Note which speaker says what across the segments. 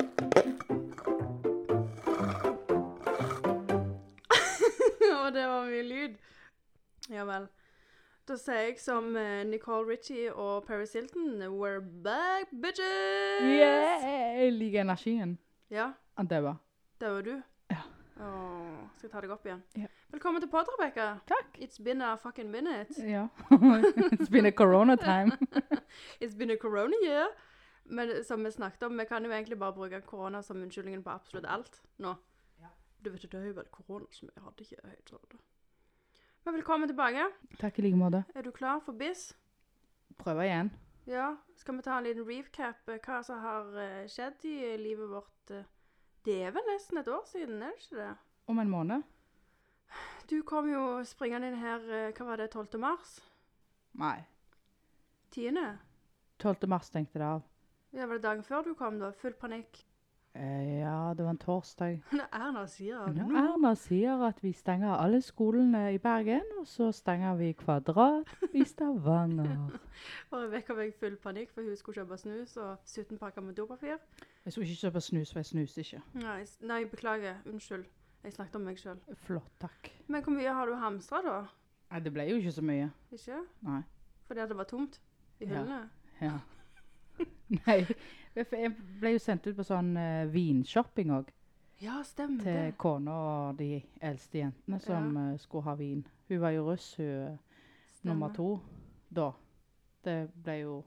Speaker 1: Da sier jeg som eh, Nicole Ritchie og Paris Hilton We're back, bitches!
Speaker 2: Yeah, jeg liker energien.
Speaker 1: Ja,
Speaker 2: Han daua.
Speaker 1: det var du.
Speaker 2: Ja.
Speaker 1: Åh, skal jeg ta deg opp igjen?
Speaker 2: Ja.
Speaker 1: Velkommen til Pod, Rebecca.
Speaker 2: Takk.
Speaker 1: It's been a fucking minute.
Speaker 2: Ja. It's been a corona time.
Speaker 1: It's been a corona year. Men som vi snakket om, vi kan jo egentlig bare bruke korona som unnskyldningen på absolutt alt nå. Du vet, det er jo bare korona som jeg hadde ikke helt sånn. Men velkommen tilbake.
Speaker 2: Takk i like måte.
Speaker 1: Er du klar for BIS?
Speaker 2: Prøver igjen.
Speaker 1: Ja. Skal vi ta en liten recap eh, hva som har eh, skjedd i livet vårt? eh? Det er vel nesten et år siden, er det ikke det?
Speaker 2: Om en måned?
Speaker 1: Du kom jo springende inn her, eh, hva var det, 12. mars?
Speaker 2: Nei.
Speaker 1: 10.
Speaker 2: 12. mars stengte det av.
Speaker 1: Ja, var det dagen før du kom da? Full panikk.
Speaker 2: Eh, ja, det var en torsdag.
Speaker 1: Når Erna sier at
Speaker 2: Nå
Speaker 1: nå
Speaker 2: Erna sier at vi stenger alle skolene i Bergen, og så stenger vi Kvadrat i Stavanger.
Speaker 1: Og Rebekka var i full panikk, for hun skulle kjøpe snus og 17 pakker med dopapir.
Speaker 2: Jeg skulle ikke kjøpe snus, for jeg snuser ikke.
Speaker 1: Nei, s- nei, beklager. Unnskyld. Jeg snakket om meg sjøl.
Speaker 2: Flott, takk.
Speaker 1: Men hvor mye har du hamstra, da?
Speaker 2: Nei, det ble jo ikke så mye.
Speaker 1: Ikke?
Speaker 2: Nei.
Speaker 1: Fordi at det var tomt i
Speaker 2: Ja.
Speaker 1: hyllene?
Speaker 2: Ja. Nei, for jeg ble jo sendt ut på sånn eh, vinshopping òg.
Speaker 1: Ja, stemmer
Speaker 2: Til
Speaker 1: Mm, det.
Speaker 2: kona og de eldste jentene som eh, skulle ha vin. Hun var jo russ, hun eh,
Speaker 1: Stemmer.
Speaker 2: nummer to da. Det ble jo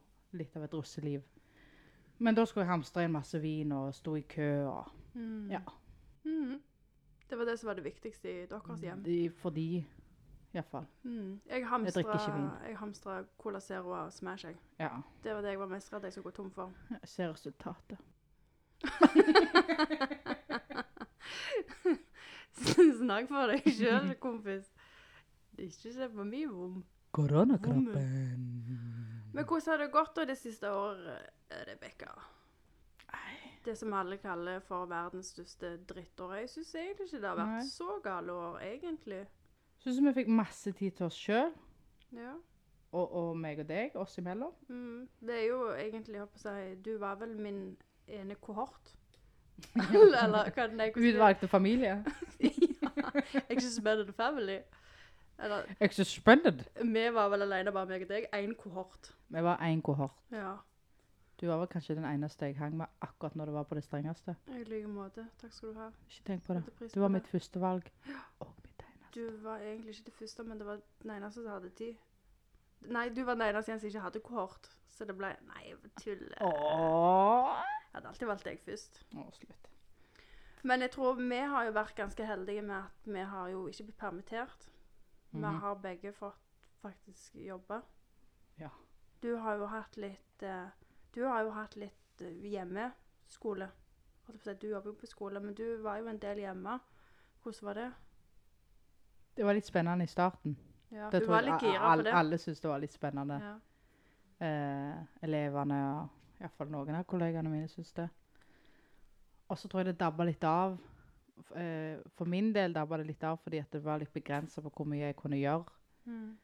Speaker 2: litt av et russeliv. Men da skulle jeg hamstre inn masse vin og sto i kø. Og,
Speaker 1: Mm.
Speaker 2: ja,
Speaker 1: Mm. Det var det som var det viktigste i deres hjem.
Speaker 2: de, for de, iallfall.
Speaker 1: Mm. Jeg
Speaker 2: drikker ikke vin.
Speaker 1: hamstra- jeg hamstra Cola Zero og Smash. Jeg.
Speaker 2: Ja.
Speaker 1: Det var det jeg var mest redd jeg skulle gå tom for.
Speaker 2: Jeg ser resultatet.
Speaker 1: Snakk for deg sjøl, kompis. Ikke se på min vom. Men hvordan har det gått da det siste året, Rebekka? Det som alle kaller for verdens største drittår. Jeg syns egentlig ikke det har vært
Speaker 2: Nei.
Speaker 1: så gale år, egentlig.
Speaker 2: Syns vi fikk masse tid til oss sjøl,
Speaker 1: Ja.
Speaker 2: og, og meg og deg oss imellom.
Speaker 1: Mm. Det er jo egentlig, jeg håper å si, du var vel min ene kohort. Eller hva den er
Speaker 2: Utvalgte familie.
Speaker 1: Expanded family. Eller,
Speaker 2: Jeg synes spennende.
Speaker 1: vi var vel alene, bare meg og deg. Én kohort.
Speaker 2: Vi var én kohort.
Speaker 1: Ja.
Speaker 2: Du var vel kanskje den eneste jeg hang med akkurat når det var på det strengeste.
Speaker 1: I like måte. Takk skal du ha.
Speaker 2: Ikke tenk på det.
Speaker 1: Setter pris
Speaker 2: Du
Speaker 1: på
Speaker 2: var
Speaker 1: det.
Speaker 2: mitt første valg. Og mitt eneste.
Speaker 1: Du var egentlig ikke det første, men det var den eneste som hadde tid. Nei, du var den eneste igjen som ikke hadde kohort. Så det ble Nei, jeg tuller.
Speaker 2: Åh.
Speaker 1: Jeg hadde alltid valgt deg først.
Speaker 2: Åh, slutt.
Speaker 1: Men jeg tror vi har jo vært ganske heldige med at vi har jo ikke blitt permittert. Vi
Speaker 2: Mhm.
Speaker 1: har begge fått faktisk jobbe.
Speaker 2: Ja.
Speaker 1: Du har jo hatt litt eh, Du har jo hatt litt eh, hjemmeskole. Holdt jeg på å si, Du jobber jo på skole, men du var jo en del hjemme. Hvordan var det?
Speaker 2: Det var litt spennende i starten.
Speaker 1: Ja,
Speaker 2: Det
Speaker 1: du
Speaker 2: tror
Speaker 1: var
Speaker 2: jeg
Speaker 1: litt
Speaker 2: a-
Speaker 1: gira på
Speaker 2: alle-
Speaker 1: det.
Speaker 2: Alle syntes det var litt spennende.
Speaker 1: Ja.
Speaker 2: Eh, elevene og iallfall noen av kollegene mine syntes det. Og så tror jeg det dabba litt av. F- eh, For min del dabba det litt av fordi at det var litt begrensa på hvor mye jeg kunne gjøre
Speaker 1: Mm.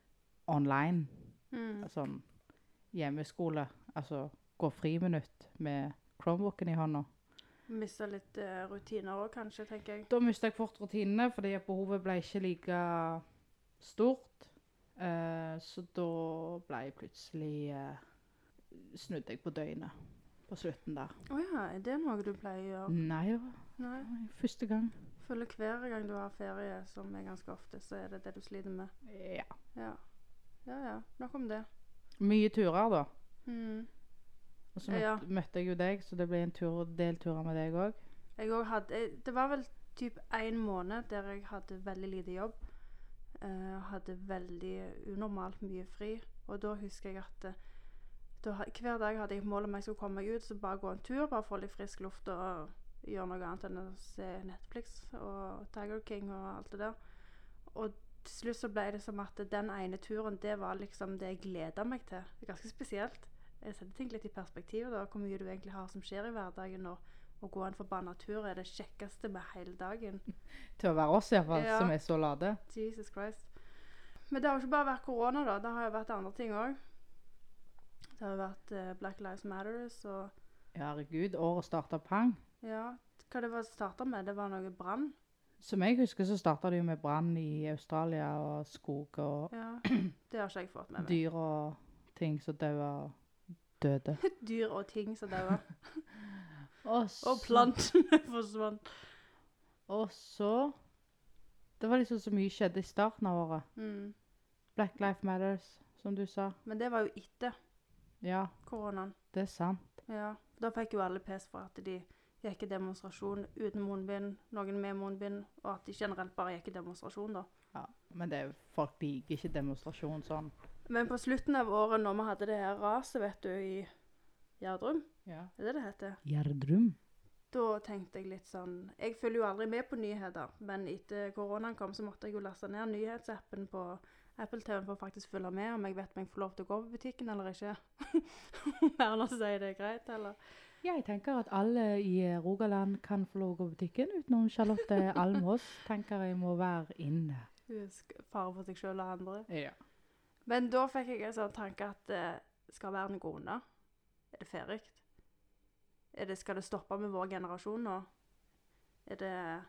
Speaker 2: online.
Speaker 1: Mm.
Speaker 2: Sånn hjemmeskole. Altså gå friminutt med Chromebooken i hånda.
Speaker 1: Mista litt eh, rutiner òg, kanskje, tenker jeg.
Speaker 2: Da mista jeg fort rutinene, fordi at behovet ble ikke like stort. Eh, så da ble jeg plutselig eh, Snudd jeg på døgnet på slutten der.
Speaker 1: Å ja, er det noe du pleier å gjøre?
Speaker 2: Nei, det var
Speaker 1: Nei.
Speaker 2: første gang.
Speaker 1: Føler hver gang du har ferie, som er ganske ofte, så er det det du sliter med.
Speaker 2: Ja.
Speaker 1: Ja. Ja ja, nok om det.
Speaker 2: Mye turer, da.
Speaker 1: Mm.
Speaker 2: Og så møtte,
Speaker 1: Ja.
Speaker 2: møtte jeg jo deg, så det ble en tur, del turer med deg òg.
Speaker 1: Jeg òg hadde jeg- Det var vel typ én måned der jeg hadde veldig lite jobb. eh, hadde veldig unormalt mye fri. Og da husker jeg at eh, da, ha- hver dag hadde jeg et mål om jeg skulle komme meg ut, så bare gå en tur, bare få litt frisk luft og gjøre noe annet enn å se Netflix og Tiger King og alt det der. Og til slutt så ble det som at den ene turen, det var liksom det jeg gleda meg til. Det er ganske spesielt. Jeg setter ting litt i perspektiv, da, hvor mye du egentlig har som skjer i hverdagen. og å gå en forbanna tur er det kjekkeste med hele dagen.
Speaker 2: Til å være oss, iallfall,
Speaker 1: Ja.
Speaker 2: som er så lade.
Speaker 1: Jesus Christ. Men det har jo ikke bare vært korona, da. Det har jo vært andre ting òg. Det har jo vært eh, Black Lives Matters og
Speaker 2: Herregud, året starta pang.
Speaker 1: Ja, hva det var starta med? Det var noe brann?
Speaker 2: Som jeg husker, så starta det jo med brann i Australia og skog og
Speaker 1: Ja, det har ikke jeg fått med meg.
Speaker 2: dyr og ting som daua og døde.
Speaker 1: Dyr og ting som dauer.
Speaker 2: Og, så,
Speaker 1: Og plantene forsvant.
Speaker 2: og så Det var liksom så mye skjedde i starten av året.
Speaker 1: Mm.
Speaker 2: Black Life Matters, som du sa.
Speaker 1: Men det var jo etter
Speaker 2: Ja,
Speaker 1: koronaen.
Speaker 2: det er sant.
Speaker 1: Ja. Da fikk jo alle pes for at de gikk i demonstrasjon uten munnbind, noen med munnbind, og at de generelt bare gikk i demonstrasjon, da.
Speaker 2: Ja, men det er, folk liker ikke demonstrasjon sånn.
Speaker 1: Men på slutten av året, når vi hadde det her raset, vet du, i Gjerdrum,
Speaker 2: Ja.
Speaker 1: er det det heter?
Speaker 2: Gjerdrum?
Speaker 1: Da tenkte jeg litt sånn Jeg følger jo aldri med på nyheter, men etter koronaen kom, så måtte jeg jo laste ned nyhetsappen på Apple TV for å faktisk følge med om jeg vet om jeg får lov til å gå på butikken eller ikke. Om Erna sier det er greit, eller
Speaker 2: Jeg tenker at alle i eh, Rogaland kan få lov å gå på butikken utenom Charlotte Almås. tenker jeg må være inne.
Speaker 1: Husk fare for seg sjøl og andre.
Speaker 2: Ja.
Speaker 1: Men da fikk jeg en sånn tanke at eh, skal verden gå unna? Er det ferdig? Er det, skal det stoppe med vår generasjon nå? Er det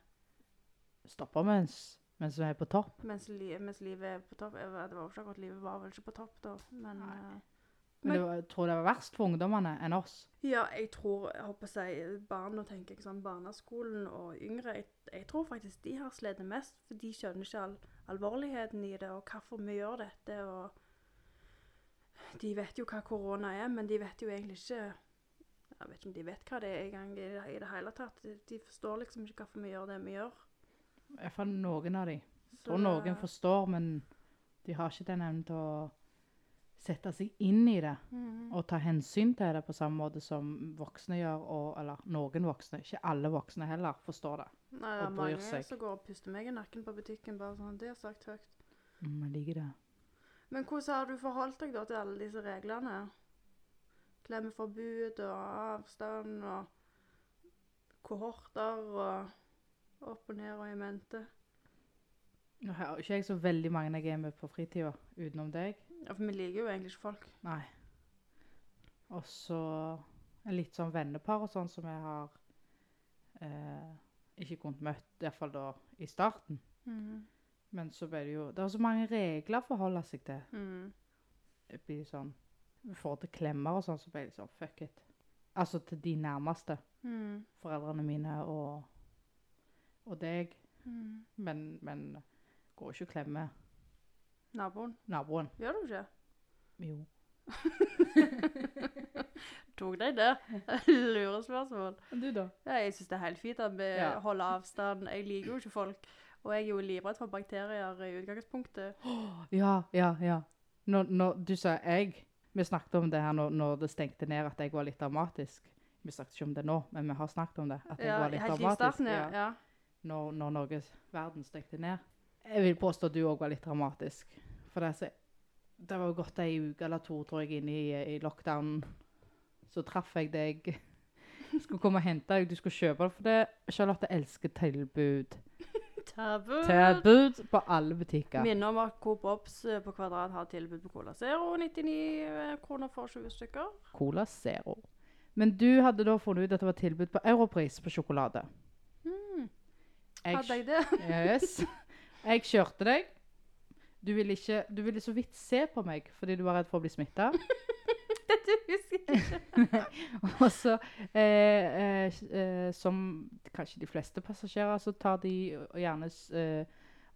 Speaker 2: Stopper mens, mens vi er på topp.
Speaker 1: mens, li, mens livet er på topp? Jeg vet- Det var jo ikke akkurat livet var vel ikke på topp da, men
Speaker 2: Nei.
Speaker 1: eh,
Speaker 2: Men,
Speaker 1: Men-
Speaker 2: det var, jeg tror det var verst for ungdommene enn oss.
Speaker 1: Ja, jeg tror jeg håper å si barn, nå tenker jeg sånn barneskolen og yngre. Jeg, jeg tror faktisk de har slitt mest, for de skjønner ikke all alvorligheten i det og hvorfor vi gjør dette. og De vet jo hva korona er, men de vet jo egentlig ikke Jeg vet ikke om de vet hva det er engang i, det- i det hele tatt. De- De forstår liksom ikke hvorfor vi gjør det vi gjør.
Speaker 2: I hvert fall noen av dem. Jeg
Speaker 1: Så-
Speaker 2: tror noen forstår, men de har ikke den evnen til å sette seg inn i det.
Speaker 1: Mhm.
Speaker 2: Og ta hensyn til det på samme måte som voksne gjør, og, eller noen voksne. Ikke alle voksne heller forstår det.
Speaker 1: Nei, det er
Speaker 2: og bryr
Speaker 1: mange
Speaker 2: seg.
Speaker 1: som går og puster meg i nakken på butikken, bare sånn. Det er sagt høyt.
Speaker 2: Mm, jeg liker det.
Speaker 1: Men hvordan har du forholdt deg da til alle disse reglene? Klemmeforbud og avstand og kohorter og opp og ned og i mente.
Speaker 2: Nå har jo ikke jeg så veldig mange jeg er med på fritida, utenom deg.
Speaker 1: Ja, for vi liker jo egentlig ikke folk.
Speaker 2: Nei. Og så er litt sånn vennepar og sånn som jeg har eh, ikke kunnet møtt, iallfall da i starten.
Speaker 1: Mm.
Speaker 2: Men så ble det jo Det er så mange regler å forholde seg til.
Speaker 1: Mm.
Speaker 2: Jeg blir sånn I forhold til klemmer og sånn, så ble jeg litt sånn fuck it. Altså til de nærmeste.
Speaker 1: Mm.
Speaker 2: Foreldrene mine og, og deg.
Speaker 1: Mm.
Speaker 2: Men, men går ikke å klemme
Speaker 1: Naboen.
Speaker 2: naboen.
Speaker 1: Gjør du ikke?
Speaker 2: Jo.
Speaker 1: Tok deg det? Lure spørsmål.
Speaker 2: Du, da?
Speaker 1: Ja, jeg syns det er helt fint at vi
Speaker 2: Ja.
Speaker 1: holder avstand. Jeg liker jo ikke folk. Og jeg er jo livredd for bakterier i utgangspunktet.
Speaker 2: Ja, ja, ja. Når, når du sa jeg Vi snakket om det her når, når det stengte ned, at jeg var litt dramatisk. Vi snakket ikke om det nå, men vi har snakket om det. At jeg
Speaker 1: Ja,
Speaker 2: var litt
Speaker 1: helt i
Speaker 2: dramatisk.
Speaker 1: starten, ja.
Speaker 2: ja.
Speaker 1: ja.
Speaker 2: Når, når Norges verden stengte ned. Jeg vil påstå at du òg var litt dramatisk. For det, er så- det var jo gått ei uke eller to, tror jeg, inne i, i lockdown. Så traff jeg deg. Skulle komme og hente deg, du skulle kjøpe det. For det, Charlotte elsker tilbud.
Speaker 1: Tabu.
Speaker 2: Tilbud på alle butikker.
Speaker 1: Minner om at Coop Ops eh, på Kvadrat har tilbud på Cola Zero. 99 kroner for 20 stykker.
Speaker 2: Cola Zero. Men du hadde da funnet ut at det var tilbud på Europris på sjokolade.
Speaker 1: Hmm. Hadde jeg det?
Speaker 2: yes. jeg kjørte deg. Du ville, ikke, du ville så vidt se på meg fordi du var redd for å bli smitta.
Speaker 1: Dette husker jeg ikke.
Speaker 2: Og så, eh, eh, eh, som kanskje de fleste passasjerer, så tar de og gjerne s- eh,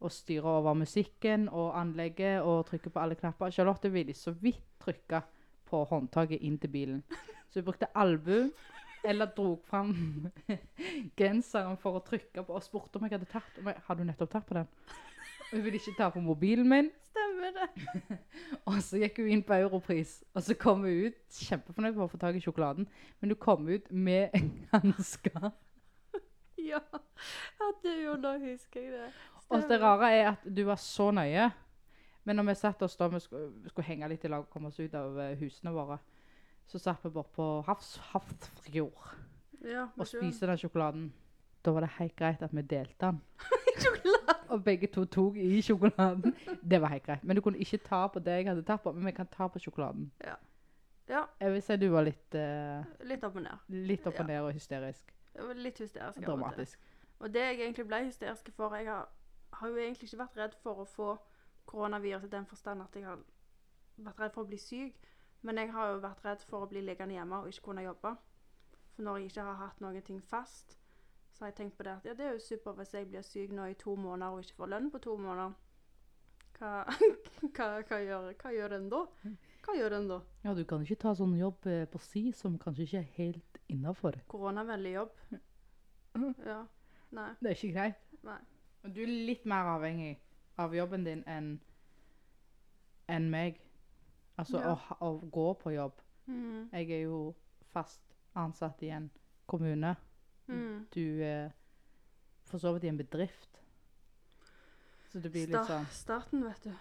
Speaker 2: og styrer over musikken og anlegget og trykker på alle knapper. Charlotte ville så vidt trykke på håndtaket inn til bilen. Så hun brukte albu eller drog fram genseren for å trykke på og spurte om jeg hadde tatt om jeg, Har du nettopp tatt på den? Hun ville ikke ta på mobilen min.
Speaker 1: Stemmer det.
Speaker 2: Og så gikk hun inn på Europris, og så kom hun ut kjempefornøyd for å få tak i sjokoladen. Men hun kom ut med hansker.
Speaker 1: Ja. ja det, jo, nå husker jeg det.
Speaker 2: Og det rare er at du var så nøye. Men når vi satt oss da vi skulle, skulle henge litt i lag og komme oss ut av eh, husene våre, så satt vi bort på Havs, Havsfjord
Speaker 1: Ja,
Speaker 2: og spiste den sjokoladen. Da var det helt greit at vi delte den. Og begge to tok i sjokoladen. Det var helt greit. Men du kunne ikke ta på det jeg hadde tatt på, men vi kan ta på sjokoladen.
Speaker 1: Ja,
Speaker 2: Jeg vil si du var litt eh,
Speaker 1: litt opp og ned.
Speaker 2: Litt opp og ned og hysterisk.
Speaker 1: Jeg var Litt hysterisk. av og til.
Speaker 2: Dramatisk.
Speaker 1: Og det jeg egentlig ble hysterisk for Jeg har, har jo egentlig ikke vært redd for å få koronavirus i den forstand at jeg har vært redd for å bli syk. Men jeg har jo vært redd for å bli liggende hjemme og ikke kunne jobbe. For når jeg ikke har hatt noen ting fast, så har jeg tenkt på det at ja, det er jo super hvis jeg blir syk nå i to måneder og ikke får lønn på to måneder. Hva, hva, hva, gjør, hva gjør den da? Hva gjør den da?
Speaker 2: Ja, du kan ikke ta sånn jobb eh, på si som kanskje ikke er helt innafor.
Speaker 1: Koronavennlig jobb. Ja. Nei.
Speaker 2: Det er ikke greit.
Speaker 1: Nei.
Speaker 2: Du er litt mer avhengig av jobben din enn enn meg. Altså
Speaker 1: Ja.
Speaker 2: å, ha- å gå på jobb.
Speaker 1: Mm.
Speaker 2: Jeg er jo fast ansatt i en kommune.
Speaker 1: Mm.
Speaker 2: Du er for så vidt i en bedrift. Så det blir litt sånn
Speaker 1: Sta- Starten, vet du.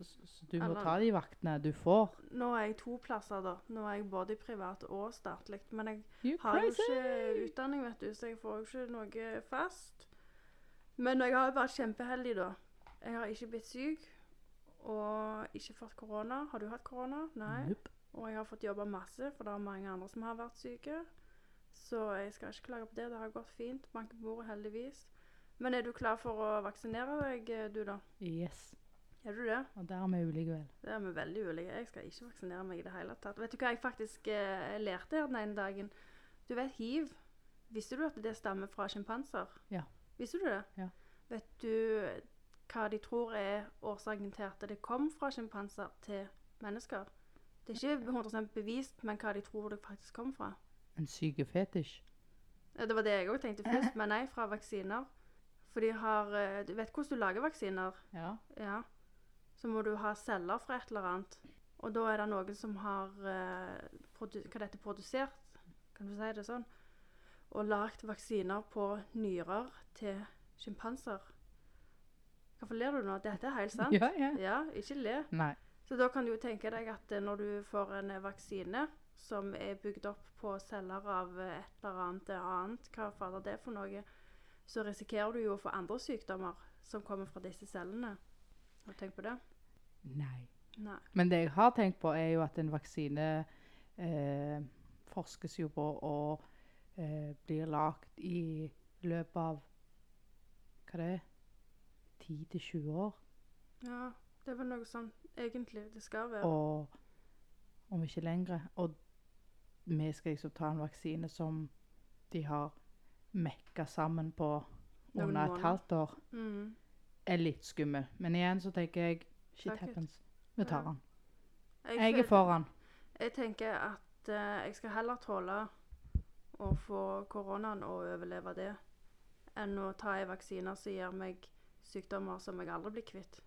Speaker 2: s- s- Du må
Speaker 1: Eller-
Speaker 2: ta de vaktene du får.
Speaker 1: Nå er jeg to plasser, da. Nå er jeg både i privat og statlig. Men jeg
Speaker 2: You
Speaker 1: har jo
Speaker 2: crazy!
Speaker 1: ikke utdanning, vet du, så jeg får jo ikke noe fast. Men jeg har jo vært kjempeheldig, da. Jeg har ikke blitt syk og ikke fått korona. Har du hatt korona? Nei.
Speaker 2: Nope.
Speaker 1: Og jeg har fått jobba masse, for det er mange andre som har vært syke. Så jeg skal ikke klage på det. Det har gått fint. Bank i bordet, heldigvis. Men er du klar for å vaksinere deg, eh, du, da?
Speaker 2: Yes.
Speaker 1: Er du det?
Speaker 2: Og der er vi ulike, vel.
Speaker 1: Det er vi veldig ulike. Jeg skal ikke vaksinere meg i det hele tatt. Vet du hva jeg faktisk eh, lærte her den ene dagen? Du vet hiv. Visste du at det stammer fra sjimpanser?
Speaker 2: Ja.
Speaker 1: Visste du det?
Speaker 2: Ja.
Speaker 1: Vet du hva de tror er årsaken til at det kom fra sjimpanser til mennesker? Det er ikke 100 bevist, men hva de tror det faktisk kom fra.
Speaker 2: En syke fetisj.
Speaker 1: Ja, Det var det jeg òg tenkte først, men nei, fra vaksiner. For de har eh, Du vet hvordan du lager vaksiner?
Speaker 2: Ja.
Speaker 1: Ja. Så må du ha celler fra et eller annet. Og da er det noen som har eh, produ hva dette produsert, kan du si det sånn, og lagd vaksiner på nyrer til sjimpanser. Hvorfor ler du nå? Dette er helt sant.
Speaker 2: Ja, ja.
Speaker 1: ja, ikke le.
Speaker 2: Nei.
Speaker 1: Så da kan du jo tenke deg at eh, når du får en eh, vaksine som er bygd opp på celler av eh, et eller annet eh, annet, hva fader det er for noe, så risikerer du jo å få andre sykdommer som kommer fra disse cellene. Har du tenkt på det?
Speaker 2: Nei.
Speaker 1: Nei.
Speaker 2: Men det jeg har tenkt på, er jo at en vaksine eh, forskes jo på og eh, blir lagd i løpet av Hva det er 10-20 år.
Speaker 1: Ja, det er vel noe sånn egentlig det skal være.
Speaker 2: Og om ikke lenger. Og vi skal liksom ta en vaksine som de har mekka sammen på
Speaker 1: Noen
Speaker 2: under et
Speaker 1: måneder.
Speaker 2: halvt år.
Speaker 1: Mm.
Speaker 2: Er litt skummel. Men igjen så tenker jeg shit
Speaker 1: Fuck it.
Speaker 2: happens. Vi tar
Speaker 1: Ja.
Speaker 2: den. Jeg er for den.
Speaker 1: Jeg tenker at eh, jeg skal heller tåle å få koronaen og overleve det, enn å ta en vaksine som gir meg sykdommer som jeg aldri blir kvitt,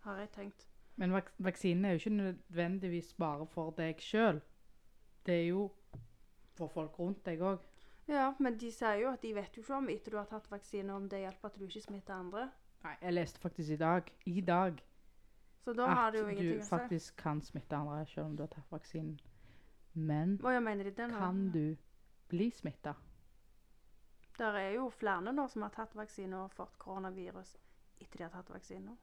Speaker 1: har jeg tenkt.
Speaker 2: Men vak vaksinen er jo ikke nødvendigvis bare for deg sjøl. Det er jo for folk rundt deg òg.
Speaker 1: Ja, men de sier jo at de vet jo ikke om etter du har tatt vaksine, om det hjelper at du ikke smitter andre.
Speaker 2: Nei, jeg leste faktisk i dag i dag,
Speaker 1: Så da har
Speaker 2: at
Speaker 1: det jo
Speaker 2: du
Speaker 1: ingenting å si.
Speaker 2: faktisk kan smitte andre sjøl om du har tatt vaksinen. Men
Speaker 1: Hva jeg mener de den har?
Speaker 2: kan du bli smitta?
Speaker 1: Der er jo flere nå som har tatt vaksine og fått koronavirus etter de har tatt vaksiner.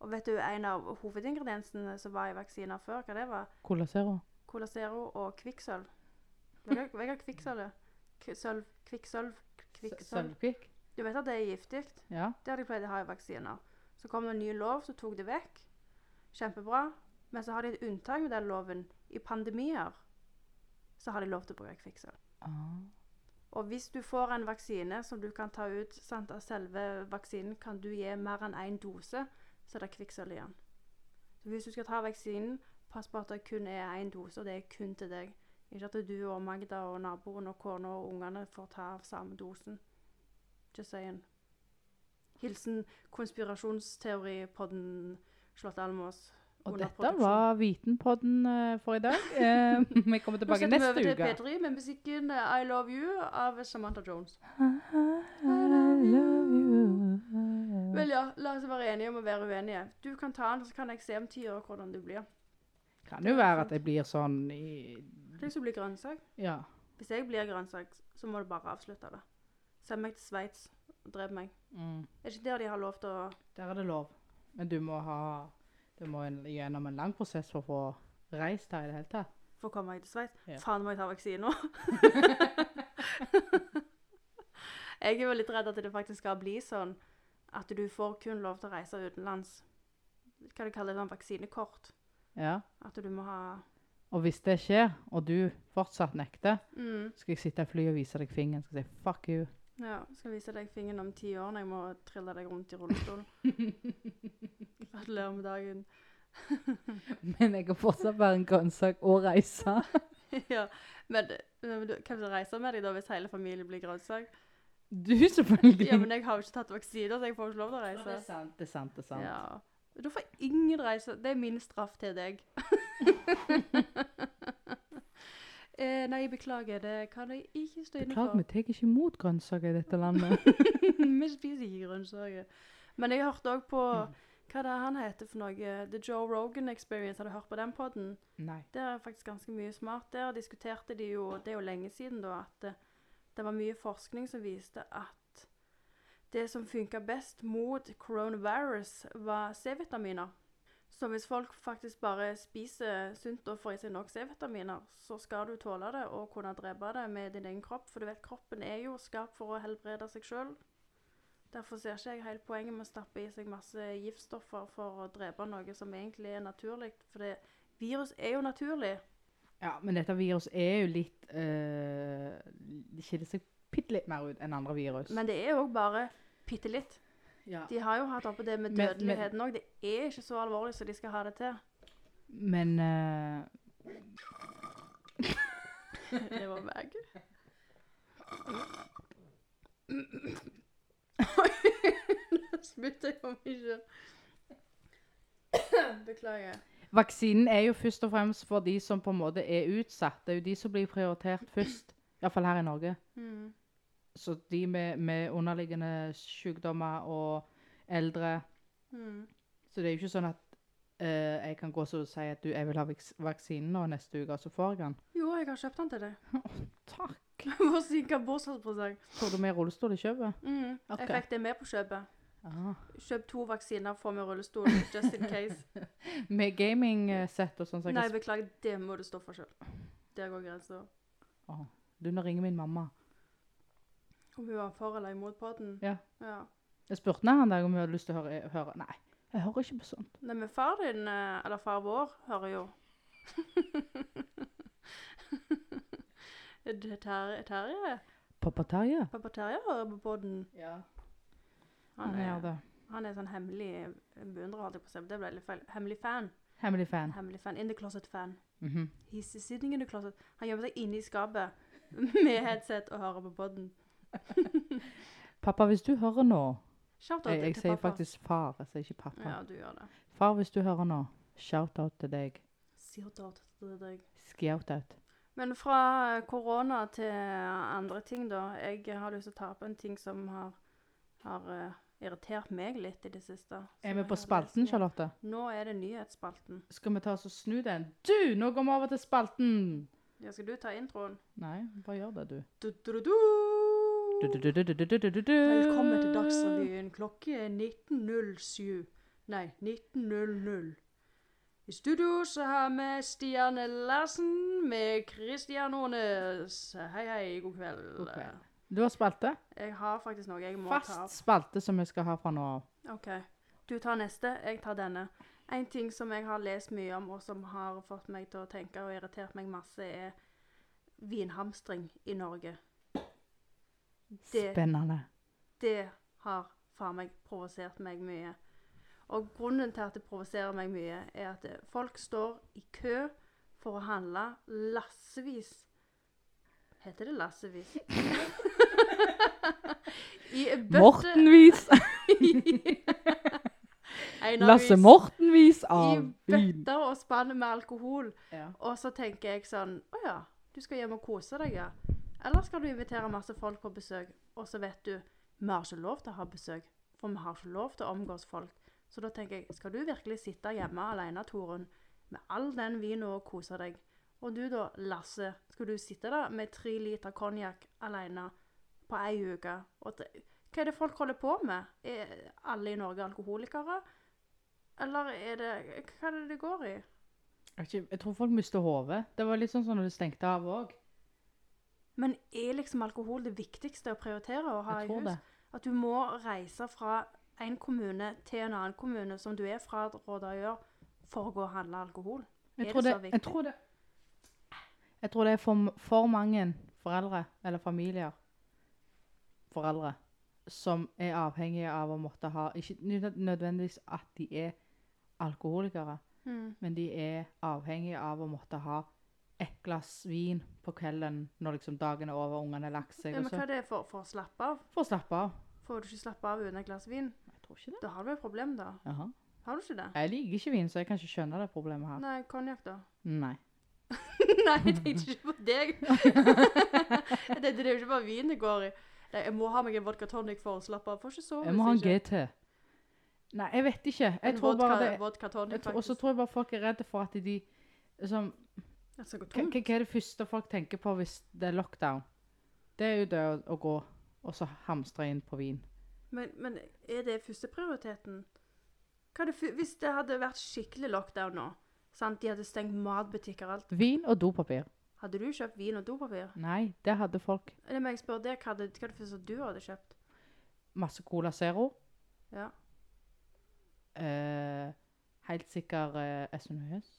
Speaker 1: Og vet du, en av hovedingrediensene som var i vaksiner før, hva det var?
Speaker 2: Cola Zero?
Speaker 1: Cola Zero og kvikksølv. Vet du hva kvikksølv er? Kvi- Sølv, kvikksølv, kvikksølv.
Speaker 2: Sølvkvikk?
Speaker 1: Du vet at det er giftig?
Speaker 2: Ja.
Speaker 1: Det har de pleid å ha i vaksiner. Så kom det en ny lov, så tok det vekk. Kjempebra. Men så har de et unntak med den loven. I pandemier så har de lov til å bruke kvikksølv.
Speaker 2: Ah.
Speaker 1: Og hvis du får en vaksine som du kan ta ut sant, av selve vaksinen, kan du gi mer enn én dose, så er det kvikksølv igjen. Så hvis du skal ta vaksinen, pass på at det kun er én dose, og det er kun til deg. Ikke at du og Magda og naboen og kona og ungene får ta av samme dosen. Just saying. Hilsen konspirasjonsteoripodden Slått Almås.
Speaker 2: Og
Speaker 1: Under
Speaker 2: dette
Speaker 1: produksjon.
Speaker 2: var Vitenpodden eh, for i dag. Eh, vi kommer
Speaker 1: Nå
Speaker 2: tilbake
Speaker 1: setter vi over
Speaker 2: neste
Speaker 1: til
Speaker 2: uke.
Speaker 1: P3 med musikken eh, I Love You av Samantha Jones. Vel, ja. La oss være enige om å være uenige. Du kan ta den, så kan jeg se om ti år hvordan du blir.
Speaker 2: Kan jo være at jeg blir sånn i
Speaker 1: Tenk så blir grønnsak.
Speaker 2: Ja.
Speaker 1: Hvis jeg blir grønnsak, så må du bare avslutte det. Send meg til Sveits og drep meg.
Speaker 2: Mm.
Speaker 1: Er ikke der de har lov til å
Speaker 2: Der er det lov. Men du må ha Du må en- gjennom en lang prosess for å få reist her i det hele tatt.
Speaker 1: få komme meg til Sveits?
Speaker 2: Ja.
Speaker 1: Faen, må jeg ta vaksine nå? Jeg er jo litt redd at det faktisk skal bli sånn at du får kun lov til å reise utenlands. Hva de kaller det, sånn vaksinekort.
Speaker 2: Ja.
Speaker 1: At du må ha
Speaker 2: Og hvis det skjer, og du fortsatt nekter,
Speaker 1: mm,
Speaker 2: skal jeg sitte i flyet og vise deg fingeren og si 'fuck you'.
Speaker 1: Ja, skal vise deg fingeren om ti år når jeg må trille deg rundt i rullestol. Gratulerer med dagen.
Speaker 2: Men jeg kan fortsatt være en grønnsak og reise.
Speaker 1: ja, men, men du- hvem som reiser med deg da hvis hele familien blir grønnsak?
Speaker 2: Du, selvfølgelig.
Speaker 1: Ja, men jeg har jo ikke tatt vaksiner, så jeg får jo ikke lov til å
Speaker 2: det er
Speaker 1: reise.
Speaker 2: sant, det er sant. det er sant.
Speaker 1: Ja. Da får ingen reise. Det er min straff til deg. eh, nei, beklager. Det kan jeg ikke stå inne
Speaker 2: Beklager,
Speaker 1: for.
Speaker 2: vi tar ikke imot grønnsaker i dette landet.
Speaker 1: Vi spiser ikke grønnsaker. Men jeg hørte òg på
Speaker 2: Mm.
Speaker 1: hva det er han heter for noe The Joe Rogan Experience. Har du hørt på den podden?
Speaker 2: Nei.
Speaker 1: Det er faktisk ganske mye smart. Der diskuterte de jo, det er jo lenge siden da, at det, det var mye forskning som viste at det som funka best mot coronavirus, var C-vitaminer. Så hvis folk faktisk bare spiser sunt og får i seg nok C-vitaminer, så skal du tåle det og kunne drepe det med din egen kropp. For du vet, kroppen er jo skapt for å helbrede seg sjøl. Derfor ser ikke jeg helt poenget med å stappe i seg masse giftstoffer for å drepe noe som egentlig er naturlig. For det, Virus er jo naturlig.
Speaker 2: Ja, men dette virus er jo litt eh, Det skiller seg bitte litt mer ut enn andre virus.
Speaker 1: Men det er jo bare bitte litt.
Speaker 2: ja.
Speaker 1: De har jo hatt oppe det med
Speaker 2: Men- men-
Speaker 1: dødeligheten òg. Det er ikke så alvorlig som de skal ha det til.
Speaker 2: men eh,
Speaker 1: Det var meg. Nå spytter jeg om ikke. Beklager.
Speaker 2: vaksinen er jo først og fremst for de som på en måte er utsatt. Det er jo de som blir prioritert først. Iallfall her i Norge.
Speaker 1: Mm.
Speaker 2: Så de med, med underliggende sykdommer og eldre
Speaker 1: Mm.
Speaker 2: Så det er jo ikke sånn at eh, jeg kan gå så og si at du, jeg vil ha vaks vaksinen nå neste uke, og så får jeg den.
Speaker 1: Jo, jeg har kjøpt den til deg.
Speaker 2: Takk!
Speaker 1: Vår syke bursdagspresang.
Speaker 2: Får du med rullestol i kjøpet?
Speaker 1: Mm.
Speaker 2: Ok.
Speaker 1: Jeg fikk det med på kjøpet.
Speaker 2: Ah.
Speaker 1: Kjøp to vaksiner, få med rullestol, just in case.
Speaker 2: Med gamingsett og sånn. Så jeg
Speaker 1: Nei,
Speaker 2: kan
Speaker 1: beklager. Det må du stå for sjøl. Der går grensa.
Speaker 2: sp- Åh, du, nå ringer min mamma.
Speaker 1: Om hun var for eller imot podden?
Speaker 2: Ja.
Speaker 1: ja.
Speaker 2: Jeg spurte henne en dag om hun hadde lyst til å høre. høre. Nei, jeg hører ikke på sånt.
Speaker 1: Nei, men far din, eh, eller far vår, hører jo. Det er Terje Terje?
Speaker 2: Pappa Terje?
Speaker 1: Pappa Terje hører på podden.
Speaker 2: Ja.
Speaker 1: Han
Speaker 2: Han gjør
Speaker 1: er,
Speaker 2: det.
Speaker 1: han er sånn hemmelig beundrer, holdt jeg på å si. men Det ble litt feil. Hemmelig fan.
Speaker 2: Hemmelig fan.
Speaker 1: Hemmelig fan. In the closet-fan.
Speaker 2: Mhm.
Speaker 1: He's sitting in the closet. Han gjemmer seg inne i skapet med headset og hører på podden.
Speaker 2: Pappa, hvis du hører nå
Speaker 1: Shout-out
Speaker 2: Jeg,
Speaker 1: til
Speaker 2: jeg sier
Speaker 1: pappa.
Speaker 2: faktisk far, jeg sier ikke pappa.
Speaker 1: Ja, du gjør det.
Speaker 2: Far, hvis du hører nå, shout-out til deg.
Speaker 1: Shout-out til deg.
Speaker 2: Scout-out.
Speaker 1: Men fra eh, korona til andre ting, da. Jeg har lyst til å ta opp en ting som har, har eh, irritert meg litt i det siste.
Speaker 2: Er
Speaker 1: Som
Speaker 2: vi
Speaker 1: jeg
Speaker 2: på
Speaker 1: har
Speaker 2: spalten,
Speaker 1: lest om.
Speaker 2: Charlotte?
Speaker 1: Nå er det nyhetsspalten.
Speaker 2: Skal vi ta oss og snu den? Du, nå går vi over til spalten!
Speaker 1: Ja, skal du ta introen?
Speaker 2: Nei, bare gjør det, du.
Speaker 1: Du, du, du, du. Velkommen
Speaker 2: Velkommen
Speaker 1: til Dagsrevyen. Klokken er 19.07. Nei, 19.00. I studio så har vi Stian Larsen med Christian Aanes. Hei, hei, god kveld.
Speaker 2: God kveld. Du har spalte?
Speaker 1: Jeg har faktisk noe jeg må ta opp.
Speaker 2: Fast spalte som vi skal ha fra nå av.
Speaker 1: OK. Du tar neste, jeg tar denne. En ting som jeg har lest mye om, og som har fått meg til å tenke og irritert meg masse, er vinhamstring i Norge. Det-
Speaker 2: Spennende.
Speaker 1: Det har faen meg provosert meg mye. Og grunnen til at det provoserer meg mye, er at eh, folk står i kø for å handle lassevis. Heter det lassevis? I bøtte-
Speaker 2: Mortenvis. Lasse
Speaker 1: Einervis.
Speaker 2: Mortenvis
Speaker 1: i
Speaker 2: av vin.
Speaker 1: bøtter og spann med alkohol.
Speaker 2: Ja.
Speaker 1: Og så tenker jeg sånn Å ja, du skal hjem og kose deg, ja. Eller skal du invitere masse folk på besøk, og så vet du Vi har ikke lov til å ha besøk, for vi har ikke lov til å omgås folk. Så da tenker jeg Skal du virkelig sitte hjemme alene, Torunn, med all den vinen og kose deg? Og du da, Lasse, skal du sitte der med tre liter konjakk alene på ei uke? Og te- hva er det folk holder på med? Er alle i Norge alkoholikere? Eller er det Hva er det det går i?
Speaker 2: Jeg vet ikke, jeg tror folk mister hodet. Det var litt sånn som når det stengte av òg.
Speaker 1: Men er liksom alkohol det viktigste å prioritere å ha
Speaker 2: Jeg
Speaker 1: i
Speaker 2: tror
Speaker 1: hus?
Speaker 2: det.
Speaker 1: At du må reise fra en kommune til en annen kommune som du er fra råda å gjøre, for å gå og handle alkohol.
Speaker 2: Jeg
Speaker 1: Er
Speaker 2: tror
Speaker 1: det
Speaker 2: det,
Speaker 1: så
Speaker 2: jeg
Speaker 1: viktig?
Speaker 2: tror det, jeg tror det er for, for mange foreldre, eller familier, foreldre, som er avhengige av å måtte ha, ikke nød- nødvendigvis at de er alkoholikere,
Speaker 1: Mm.
Speaker 2: men de er avhengige av å måtte ha et glass vin på kvelden, når liksom dagen er over, ungene har lagt
Speaker 1: Ja,
Speaker 2: seg,
Speaker 1: men
Speaker 2: og
Speaker 1: hva
Speaker 2: så
Speaker 1: er det for, for å slappe av?
Speaker 2: for å slappe av.
Speaker 1: Får du ikke slappe av uten et glass vin?
Speaker 2: Jeg tror ikke det.
Speaker 1: Da har du et problem, da.
Speaker 2: Jaha.
Speaker 1: Har du ikke det?
Speaker 2: Jeg liker ikke vin, så jeg kan ikke skjønne det problemet her.
Speaker 1: Nei, konjakk, da?
Speaker 2: Nei.
Speaker 1: Nei, jeg tenkte ikke på deg. jeg tenkte det er jo ikke bare vin det går i. Nei, jeg må ha meg en vodka tonic for å slappe av. Får ikke sove.
Speaker 2: Jeg må ha en
Speaker 1: hvis ikke.
Speaker 2: GT. Nei, jeg vet ikke. Jeg
Speaker 1: En
Speaker 2: tror bare
Speaker 1: vodka,
Speaker 2: det...
Speaker 1: Vodka
Speaker 2: Jeg
Speaker 1: tonic,
Speaker 2: tror- Og så
Speaker 1: faktisk.
Speaker 2: tror jeg bare folk er redde for at de liksom,
Speaker 1: Det skal gå
Speaker 2: hva,
Speaker 1: tomt.
Speaker 2: hva hva er det første folk tenker på hvis det er lockdown? Det er jo det å, å gå og så hamstre inn på vin.
Speaker 1: Men, men er det førsteprioriteten? Hva er det fu- Hvis det hadde vært skikkelig lockdown nå, sant? de hadde stengt matbutikker og alt,
Speaker 2: Vin og dopapir.
Speaker 1: hadde du kjøpt vin og dopapir?
Speaker 2: Nei, det hadde folk.
Speaker 1: Eller må jeg spørre deg, hva, hadde, hva er det første du hadde kjøpt?
Speaker 2: Masse Cola Zero.
Speaker 1: Ja.
Speaker 2: Eh, helt sikker eh, SNHS.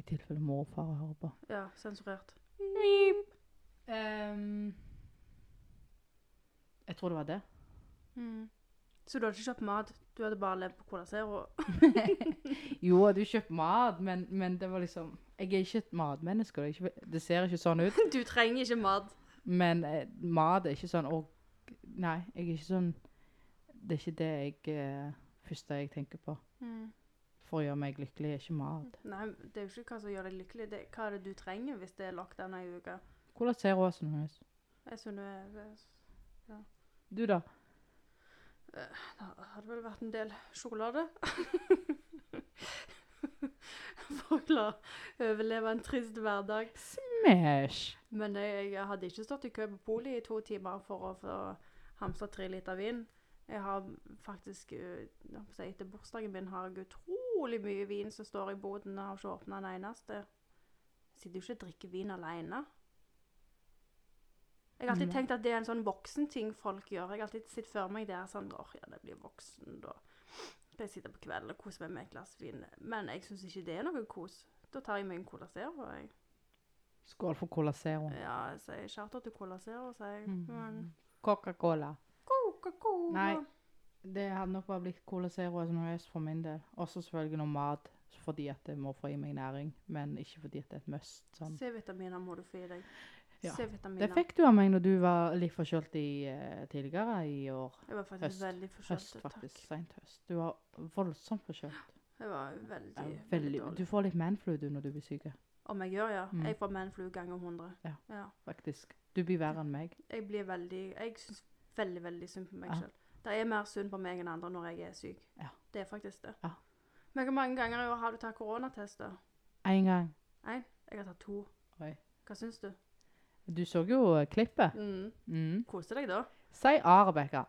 Speaker 2: I tilfelle morfar hører på.
Speaker 1: Ja, sensurert.
Speaker 2: Ehm, jeg tror det var det.
Speaker 1: Mm. Så du hadde ikke kjøpt mat, du hadde bare levd på Cola Zero?
Speaker 2: Jo, du kjøpte mat, men, men det var liksom Jeg er ikke et matmenneske. og Det, er ikke, det ser ikke sånn ut.
Speaker 1: Du trenger ikke mat.
Speaker 2: Men eh, mat er ikke sånn og, Nei, jeg er ikke sånn Det er ikke det jeg eh, første jeg tenker på for å gjøre meg lykkelig. er ikke mat.
Speaker 1: Nei, det er jo ikke hva som gjør deg lykkelig. Det, hva er det du trenger hvis det er lockdown ei uke?
Speaker 2: Hvordan ser hun sånn ut?
Speaker 1: Jeg synes det,
Speaker 2: Du, da?
Speaker 1: det Eh, hadde vel vært en del sjokolade. For å klare å overleve en trist hverdag.
Speaker 2: Mesh.
Speaker 1: Men jeg, jeg hadde ikke stått i kø på polet i to timer for å få hamstra tre liter vin. Jeg har faktisk, eh, jeg holdt på å si, etter bursdagen min, har jeg utrolig mye vin som står i boden. Jeg har ikke åpna en eneste. Jeg sitter jo ikke og drikker vin alene. Jeg har alltid
Speaker 2: Nei.
Speaker 1: tenkt at det er en sånn voksenting folk gjør. Jeg har alltid sett for meg det er sånn Åh, ja, det blir voksen, da skal jeg sitte på kvelden og kose meg med et glass vin. Men jeg syns ikke det er noe kos. Da tar jeg meg en Cola Zero, jeg.
Speaker 2: Skål for Cola Zero.
Speaker 1: Ja, jeg sier charter til Cola Zero, sier jeg. Men
Speaker 2: Mm. Coca-Cola.
Speaker 1: Coca-Cola
Speaker 2: Nei. Det hadde nok bare blitt Cola Zero som høyest for min del. Også selvfølgelig noe mat, fordi at jeg må få i meg næring, men ikke fordi at det er et must. Sånn.
Speaker 1: C-vitaminer må du få i deg.
Speaker 2: Ja. Det
Speaker 1: C-vitaminer.
Speaker 2: fikk du av meg når du var litt forkjølt i, eh, tidligere i år.
Speaker 1: Jeg var faktisk
Speaker 2: Høst.
Speaker 1: veldig
Speaker 2: Høst,
Speaker 1: forkjølt.
Speaker 2: faktisk. Sent høst. Du var voldsomt forkjølt.
Speaker 1: Jeg var veldig,
Speaker 2: Ja,
Speaker 1: veldig,
Speaker 2: veldig,
Speaker 1: dårlig.
Speaker 2: du får litt manflu du når du blir syk,
Speaker 1: Om jeg gjør, ja.
Speaker 2: Mm.
Speaker 1: Jeg får manflu ganger 100.
Speaker 2: Ja. faktisk. Du blir verre enn meg.
Speaker 1: Jeg blir veldig Jeg syns veldig, veldig synd på meg
Speaker 2: Ja.
Speaker 1: selv. Det er mer synd på meg enn andre når jeg er syk.
Speaker 2: Ja.
Speaker 1: Det er faktisk det.
Speaker 2: Ja.
Speaker 1: Men hvor mange ganger i år har du tatt koronatester?
Speaker 2: En gang.
Speaker 1: Én? Jeg har tatt to.
Speaker 2: Oi.
Speaker 1: Hva syns du?
Speaker 2: Du så jo eh, klippet.
Speaker 1: Mm.
Speaker 2: Mm.
Speaker 1: Koser deg, da?
Speaker 2: Si A, Rebekka.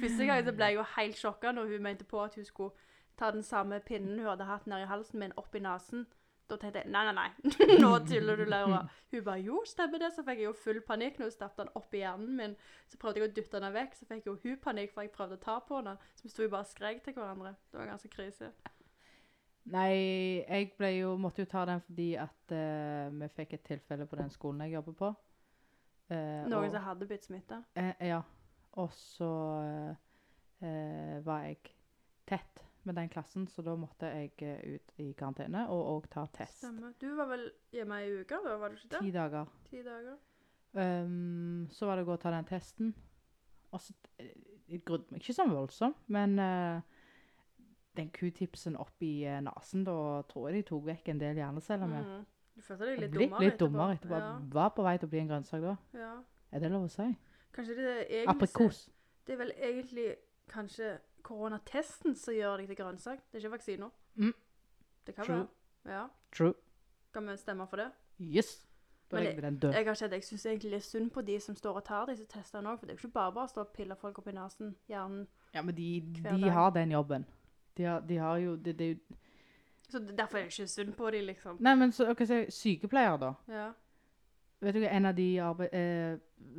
Speaker 1: Første gang så ble jeg jo helt sjokka når hun mente på at hun skulle ta den samme pinnen hun hadde hatt nedi halsen min, opp i nesen. Da tenkte jeg nei, nei, nei, nå tuller du, Laura. Hun bare jo, stemmer det. Så fikk jeg jo full panikk når hun stappet den opp i hjernen min. Så prøvde jeg å dytte den vekk, så fikk jo hun panikk, for jeg prøvde å ta på den. Så vi sto jo bare og skrek til hverandre. Det var ganske krise.
Speaker 2: Nei, jeg ble jo, måtte jo ta den fordi at eh, vi fikk et tilfelle på den skolen jeg jobber på. Eh,
Speaker 1: Noen
Speaker 2: og-
Speaker 1: som hadde blitt smitta.
Speaker 2: Eh, ja. Og så eh, eh, var jeg tett med den klassen, så da måtte jeg eh, ut i karantene og òg ta test.
Speaker 1: Stemmer. Du var vel hjemme ei uke, da, var du ikke det?
Speaker 2: Ti dager.
Speaker 1: Ti dager.
Speaker 2: Ehm, så var det å gå og ta den testen. Og så eh, Jeg grudde meg ikke sånn voldsomt, men eh, den q-tipsen oppi uh, nesen, da tror jeg de tok vekk en del hjerneceller med.
Speaker 1: Mhm. Du følte deg litt
Speaker 2: jeg ble
Speaker 1: dummere
Speaker 2: litt dummere etterpå. Var på vei til å bli en grønnsak da.
Speaker 1: Ja, ja.
Speaker 2: Er det lov å si?
Speaker 1: Kanskje det er egentlig
Speaker 2: Aprikos.
Speaker 1: Det er vel egentlig kanskje koronatesten som gjør deg til grønnsak. Det er ikke vaksiner.
Speaker 2: Mm.
Speaker 1: Det kan
Speaker 2: True.
Speaker 1: være. Ja.
Speaker 2: True.
Speaker 1: Kan vi stemme for det?
Speaker 2: Yes! Da
Speaker 1: Men
Speaker 2: legger vi den død.
Speaker 1: Jeg har sett, jeg syns egentlig litt synd på de som står og tar disse testene òg, for det er jo ikke bare bare å stå og pille folk opp i nesen, hjernen.
Speaker 2: Ja, men de,
Speaker 1: dag.
Speaker 2: de har den jobben. De har, de har jo det, det er jo
Speaker 1: Så d- derfor er jeg ikke synd på dem, liksom.
Speaker 2: Nei, men så, ok, så sykepleier, da.
Speaker 1: Ja.
Speaker 2: Vet du hva, en av de arbe- eh,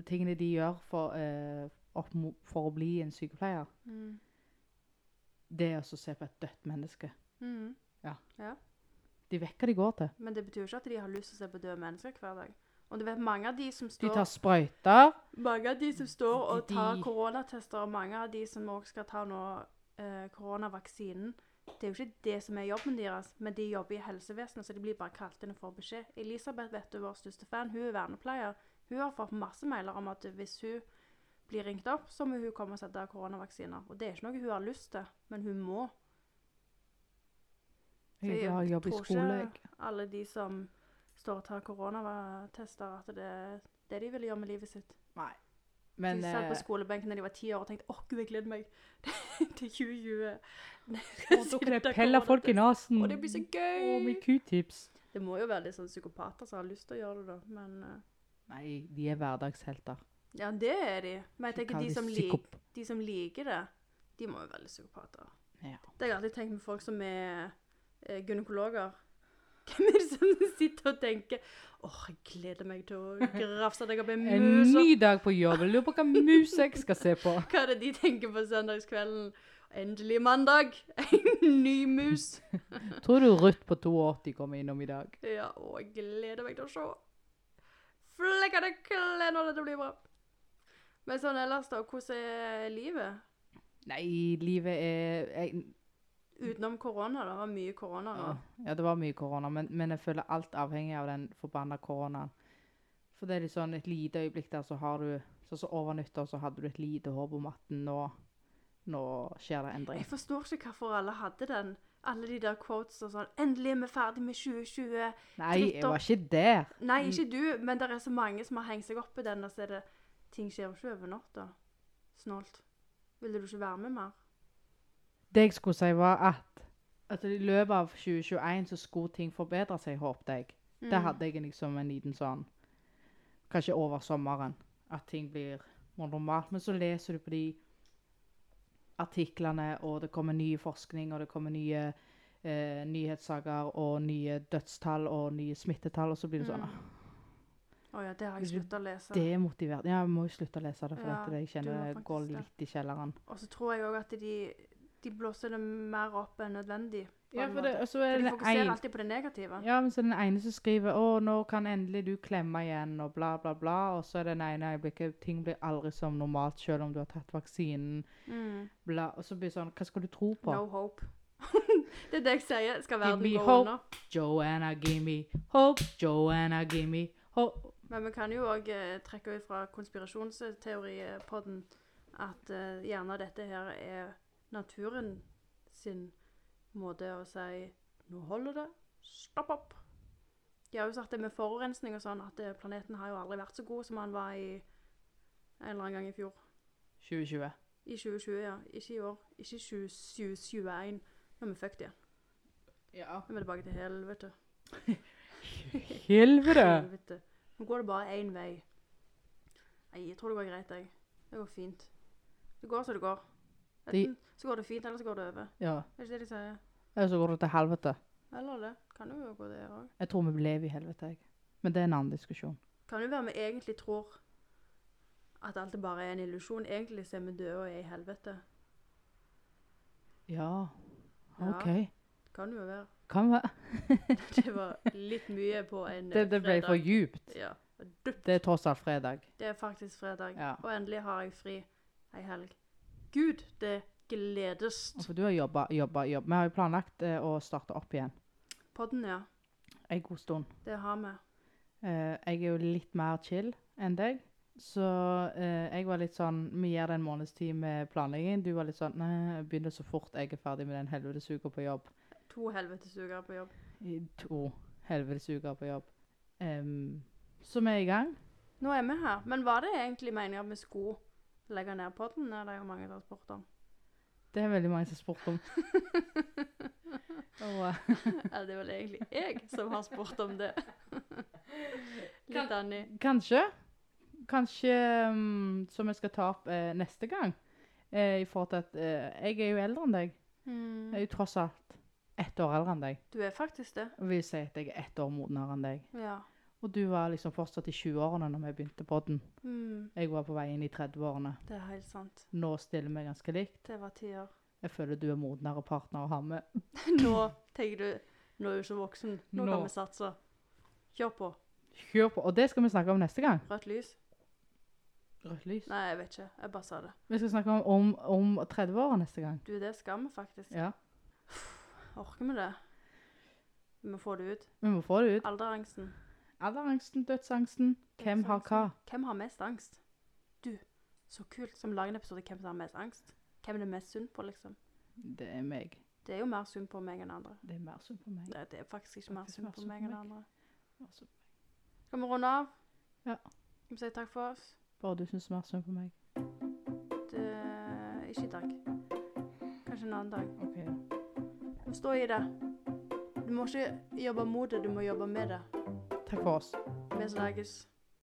Speaker 2: tingene de gjør for, eh, opp, mo- for å bli en sykepleier,
Speaker 1: Mm.
Speaker 2: det er å se på et dødt menneske.
Speaker 1: Mm.
Speaker 2: De vet hva de går til.
Speaker 1: Men det betyr jo ikke at de har lyst til å se på døde mennesker hver dag. Og du vet, mange av de som
Speaker 2: De
Speaker 1: står,
Speaker 2: tar sprøyter.
Speaker 1: mange av de som står og
Speaker 2: De-
Speaker 1: tar
Speaker 2: de-
Speaker 1: koronatester, og mange av de som også skal ta nå eh, koronavaksinen, det er jo ikke det som er jobben deres, men de jobber i helsevesenet, så de blir bare kalt inn og får beskjed. Elisabeth vet du, vår største fan, hun er vernepleier. Hun har fått masse mailer om at hvis hun blir ringt opp, så må hun komme og sette koronavaksiner. Og det er ikke noe hun har lyst til, men hun må.
Speaker 2: Jeg
Speaker 1: Så jeg
Speaker 2: har jobb i
Speaker 1: tror ikke-
Speaker 2: skole. Jeg.
Speaker 1: alle de som står og tar koronatester, at det er det de ville gjøre med livet sitt.
Speaker 2: Nei. Men
Speaker 1: de satt på
Speaker 2: eh,
Speaker 1: skolebenken da de var ti år og tenkte åh gud, jeg gleder meg til 2020.
Speaker 2: og så kan jeg pelle folk i Oh nesen.
Speaker 1: Og det blir så
Speaker 2: Og
Speaker 1: gøy!
Speaker 2: med Q-tips.
Speaker 1: Det må jo være litt sånn psykopater som har lyst til å gjøre det, da. Men eh,
Speaker 2: Nei, de er hverdagshelter.
Speaker 1: ja, det er de. Men jeg
Speaker 2: Kall
Speaker 1: tenker de som, lik,
Speaker 2: psykop-
Speaker 1: de som liker det, de må jo være litt psykopater.
Speaker 2: Ja.
Speaker 1: Det har jeg alltid tenkt med folk som er eh, gynekologer. Hvem er det som sitter og tenker åh, jeg gleder meg til å grafse deg opp i en
Speaker 2: En
Speaker 1: mus og
Speaker 2: ny dag på jobb. Jeg lurer på hva mus jeg skal se på.
Speaker 1: Hva er det de tenker på søndagskvelden? Endelig mandag! En ny mus!
Speaker 2: Tror du Ruth på 82 kommer innom i dag?
Speaker 1: Ja, og jeg gleder meg til å se. Flekkende klær når dette blir bra. Men sånn ellers, da. Hvordan er livet?
Speaker 2: Nei, livet er jeg,
Speaker 1: Utenom korona, da. Det var mye korona nå.
Speaker 2: Ja, det var mye korona, men, men jeg føler alt avhengig av den forbanna koronaen. For det er litt sånn et lite øyeblikk der, så har du Sånn som over nyttår, så hadde du et lite håp om at nå, nå skjer det endring.
Speaker 1: Jeg forstår ikke hvorfor alle hadde den. Alle de der quotes og sånn 'Endelig er vi ferdig med 2020'.
Speaker 2: Nei, jeg
Speaker 1: drittår.
Speaker 2: var ikke der.
Speaker 1: Nei,
Speaker 2: Mm.
Speaker 1: ikke du, men det er så mange som har hengt seg opp i den, og så er det Ting skjer jo ikke over natta. Snålt. Ville du ikke være med mer?
Speaker 2: Det jeg skulle si, var at, at i løpet av 2021 så skulle ting forbedre seg, håpte jeg. Det
Speaker 1: Mm.
Speaker 2: hadde jeg liksom en liten sånn Kanskje over sommeren. At ting blir mer normalt. Men så leser du på de artiklene, og det kommer ny forskning, og det kommer nye eh, nyhetssaker og nye dødstall og nye smittetall, og så blir det sånn
Speaker 1: Mm.
Speaker 2: «Ah,
Speaker 1: Å ja, det har jeg
Speaker 2: Hvis
Speaker 1: sluttet å lese.
Speaker 2: Det er motiverende. Ja, jeg må jo slutte å lese det, for
Speaker 1: Ja,
Speaker 2: at jeg
Speaker 1: du
Speaker 2: kjenner
Speaker 1: har
Speaker 2: det går
Speaker 1: faktisk det.
Speaker 2: litt i kjelleren.
Speaker 1: Og så tror jeg òg at de, de blåser det mer opp enn nødvendig. på
Speaker 2: Ja,
Speaker 1: en
Speaker 2: for
Speaker 1: måte.
Speaker 2: det, og så er
Speaker 1: de
Speaker 2: det
Speaker 1: fokuserer
Speaker 2: en
Speaker 1: alltid på det negative.
Speaker 2: Ja, men så er det den ene som skriver 'Å, nå kan endelig du klemme igjen', og bla, bla, bla. Og så er det den ene øyeblikket ting blir aldri som normalt selv om du har tatt vaksinen.
Speaker 1: Mm.
Speaker 2: Bla. Og så blir det sånn Hva skal du tro på?
Speaker 1: No hope. det er det jeg sier. Skal verden
Speaker 2: Give me
Speaker 1: gå
Speaker 2: hope.
Speaker 1: under?
Speaker 2: Joanna, gimme hope. Joanna, gimme hope.
Speaker 1: Men vi kan jo òg eh, trekke ut fra konspirasjonsteoripodden at eh, gjerne dette her er naturen sin måte å si Nå holder det. Stopp opp. De har jo sagt det med forurensning og sånn, at eh, planeten har jo aldri vært så god som han var i en eller annen gang i fjor.
Speaker 2: 2020.
Speaker 1: I 2020, ja. Ikke i år. Ikke i 20- 2021. Nå er vi fucked igjen.
Speaker 2: Ja.
Speaker 1: Nå er vi tilbake til helvete.
Speaker 2: Helvete!
Speaker 1: Helvete. Nå går det bare én vei. Nei, jeg tror det går greit, jeg. Det går fint. Det går som det går.
Speaker 2: De-
Speaker 1: Enten så går det fint, eller så går det over.
Speaker 2: Ja.
Speaker 1: Er det ikke det de sier?
Speaker 2: Eller så går det til helvete.
Speaker 1: Eller det. Kan jo gå det òg.
Speaker 2: Jeg tror vi lever i helvete, jeg. Men det er en annen diskusjon.
Speaker 1: Kan jo være vi egentlig tror at alt det bare er en illusjon. Egentlig så er vi døde og er i helvete.
Speaker 2: Ja.
Speaker 1: Ja.
Speaker 2: OK.
Speaker 1: Kan jo være.
Speaker 2: Kan være
Speaker 1: Det var litt mye på en eh,
Speaker 2: Det, det ble for
Speaker 1: fredag.
Speaker 2: djupt.
Speaker 1: Ja.
Speaker 2: Det er tross alt fredag.
Speaker 1: Det er faktisk fredag,
Speaker 2: Ja.
Speaker 1: og endelig har jeg fri ei helg. Gud, det gledes.
Speaker 2: Og For du har jobba, jobba, jobba. Vi har jo planlagt eh, å starte opp igjen
Speaker 1: Podden, ja.
Speaker 2: en god stund.
Speaker 1: Det har vi.
Speaker 2: Eh, jeg er jo litt mer chill enn deg, så eh, jeg var litt sånn Vi gjør det en måneds tid med planlegging. Du var litt sånn Nei, jeg begynner så fort jeg er ferdig med den helvetesuka på jobb.
Speaker 1: To helvetesuker på jobb.
Speaker 2: I to helvetesuker på jobb. Em, så vi er i gang.
Speaker 1: Nå er vi her. Men var det egentlig meningen at vi skulle legge ned podden? Nei, det er jo mange som har spurt om.
Speaker 2: Det er veldig mange som har spurt om. Og, eh,
Speaker 1: Eller det er vel egentlig jeg som har spurt om det. Litt Annie.
Speaker 2: eh, Kanskje. Kanskje mm, som jeg skal ta opp eh, neste gang. Eh, I forhold til at eh, jeg er jo eldre enn deg. Jeg er jo tross alt ett år eldre enn deg.
Speaker 1: Mm, Du er faktisk det.
Speaker 2: Og vi sier at jeg er ett år modnere enn deg.
Speaker 1: Ja.
Speaker 2: Og du var liksom fortsatt i 20-årene når vi begynte på den.
Speaker 1: Mm,
Speaker 2: Jeg var på vei inn i 30-årene.
Speaker 1: det er helt sant.
Speaker 2: Nå stiller vi ganske likt.
Speaker 1: Det var tider.
Speaker 2: Jeg føler du er modnere partner å ha med.
Speaker 1: Nå tenker du Nå er du så voksen. Nå,
Speaker 2: Nå.
Speaker 1: kan vi satse. Kjør på.
Speaker 2: Kjør på. Og det skal vi snakke om neste gang.
Speaker 1: Rødt lys?
Speaker 2: Rødt lys.
Speaker 1: Nei, jeg vet ikke. Jeg bare sa det.
Speaker 2: Vi skal snakke om, om, om 30-åra neste gang.
Speaker 1: Du, det skal vi faktisk.
Speaker 2: Ja.
Speaker 1: Orker vi det? Vi må få det ut.
Speaker 2: Vi må få det ut.
Speaker 1: Alderangsten.
Speaker 2: Alderangsten, dødsangsten. Hvem har hva?
Speaker 1: Hvem har mest angst? Du, så kult. Som lager en episode hvem som har mest angst. Hvem er det mest synd på, liksom?
Speaker 2: Det er meg.
Speaker 1: Det er jo mer synd på meg enn andre.
Speaker 2: Det er mer synd på meg.
Speaker 1: Nei, det er faktisk ikke mer
Speaker 2: Faktisk
Speaker 1: synd
Speaker 2: mer
Speaker 1: på
Speaker 2: synd på
Speaker 1: meg enn
Speaker 2: meg.
Speaker 1: andre.
Speaker 2: Altså,
Speaker 1: Skal vi runde av?
Speaker 2: Ja.
Speaker 1: Skal vi si takk for oss?
Speaker 2: Bare du syns mer synd på meg.
Speaker 1: Det, ikke i dag. Kanskje en annen dag.
Speaker 2: OK.
Speaker 1: Men stå i det. Du må ikke jobbe mot det, du må jobbe med det.
Speaker 2: Takk for oss.
Speaker 1: Vi snakkes.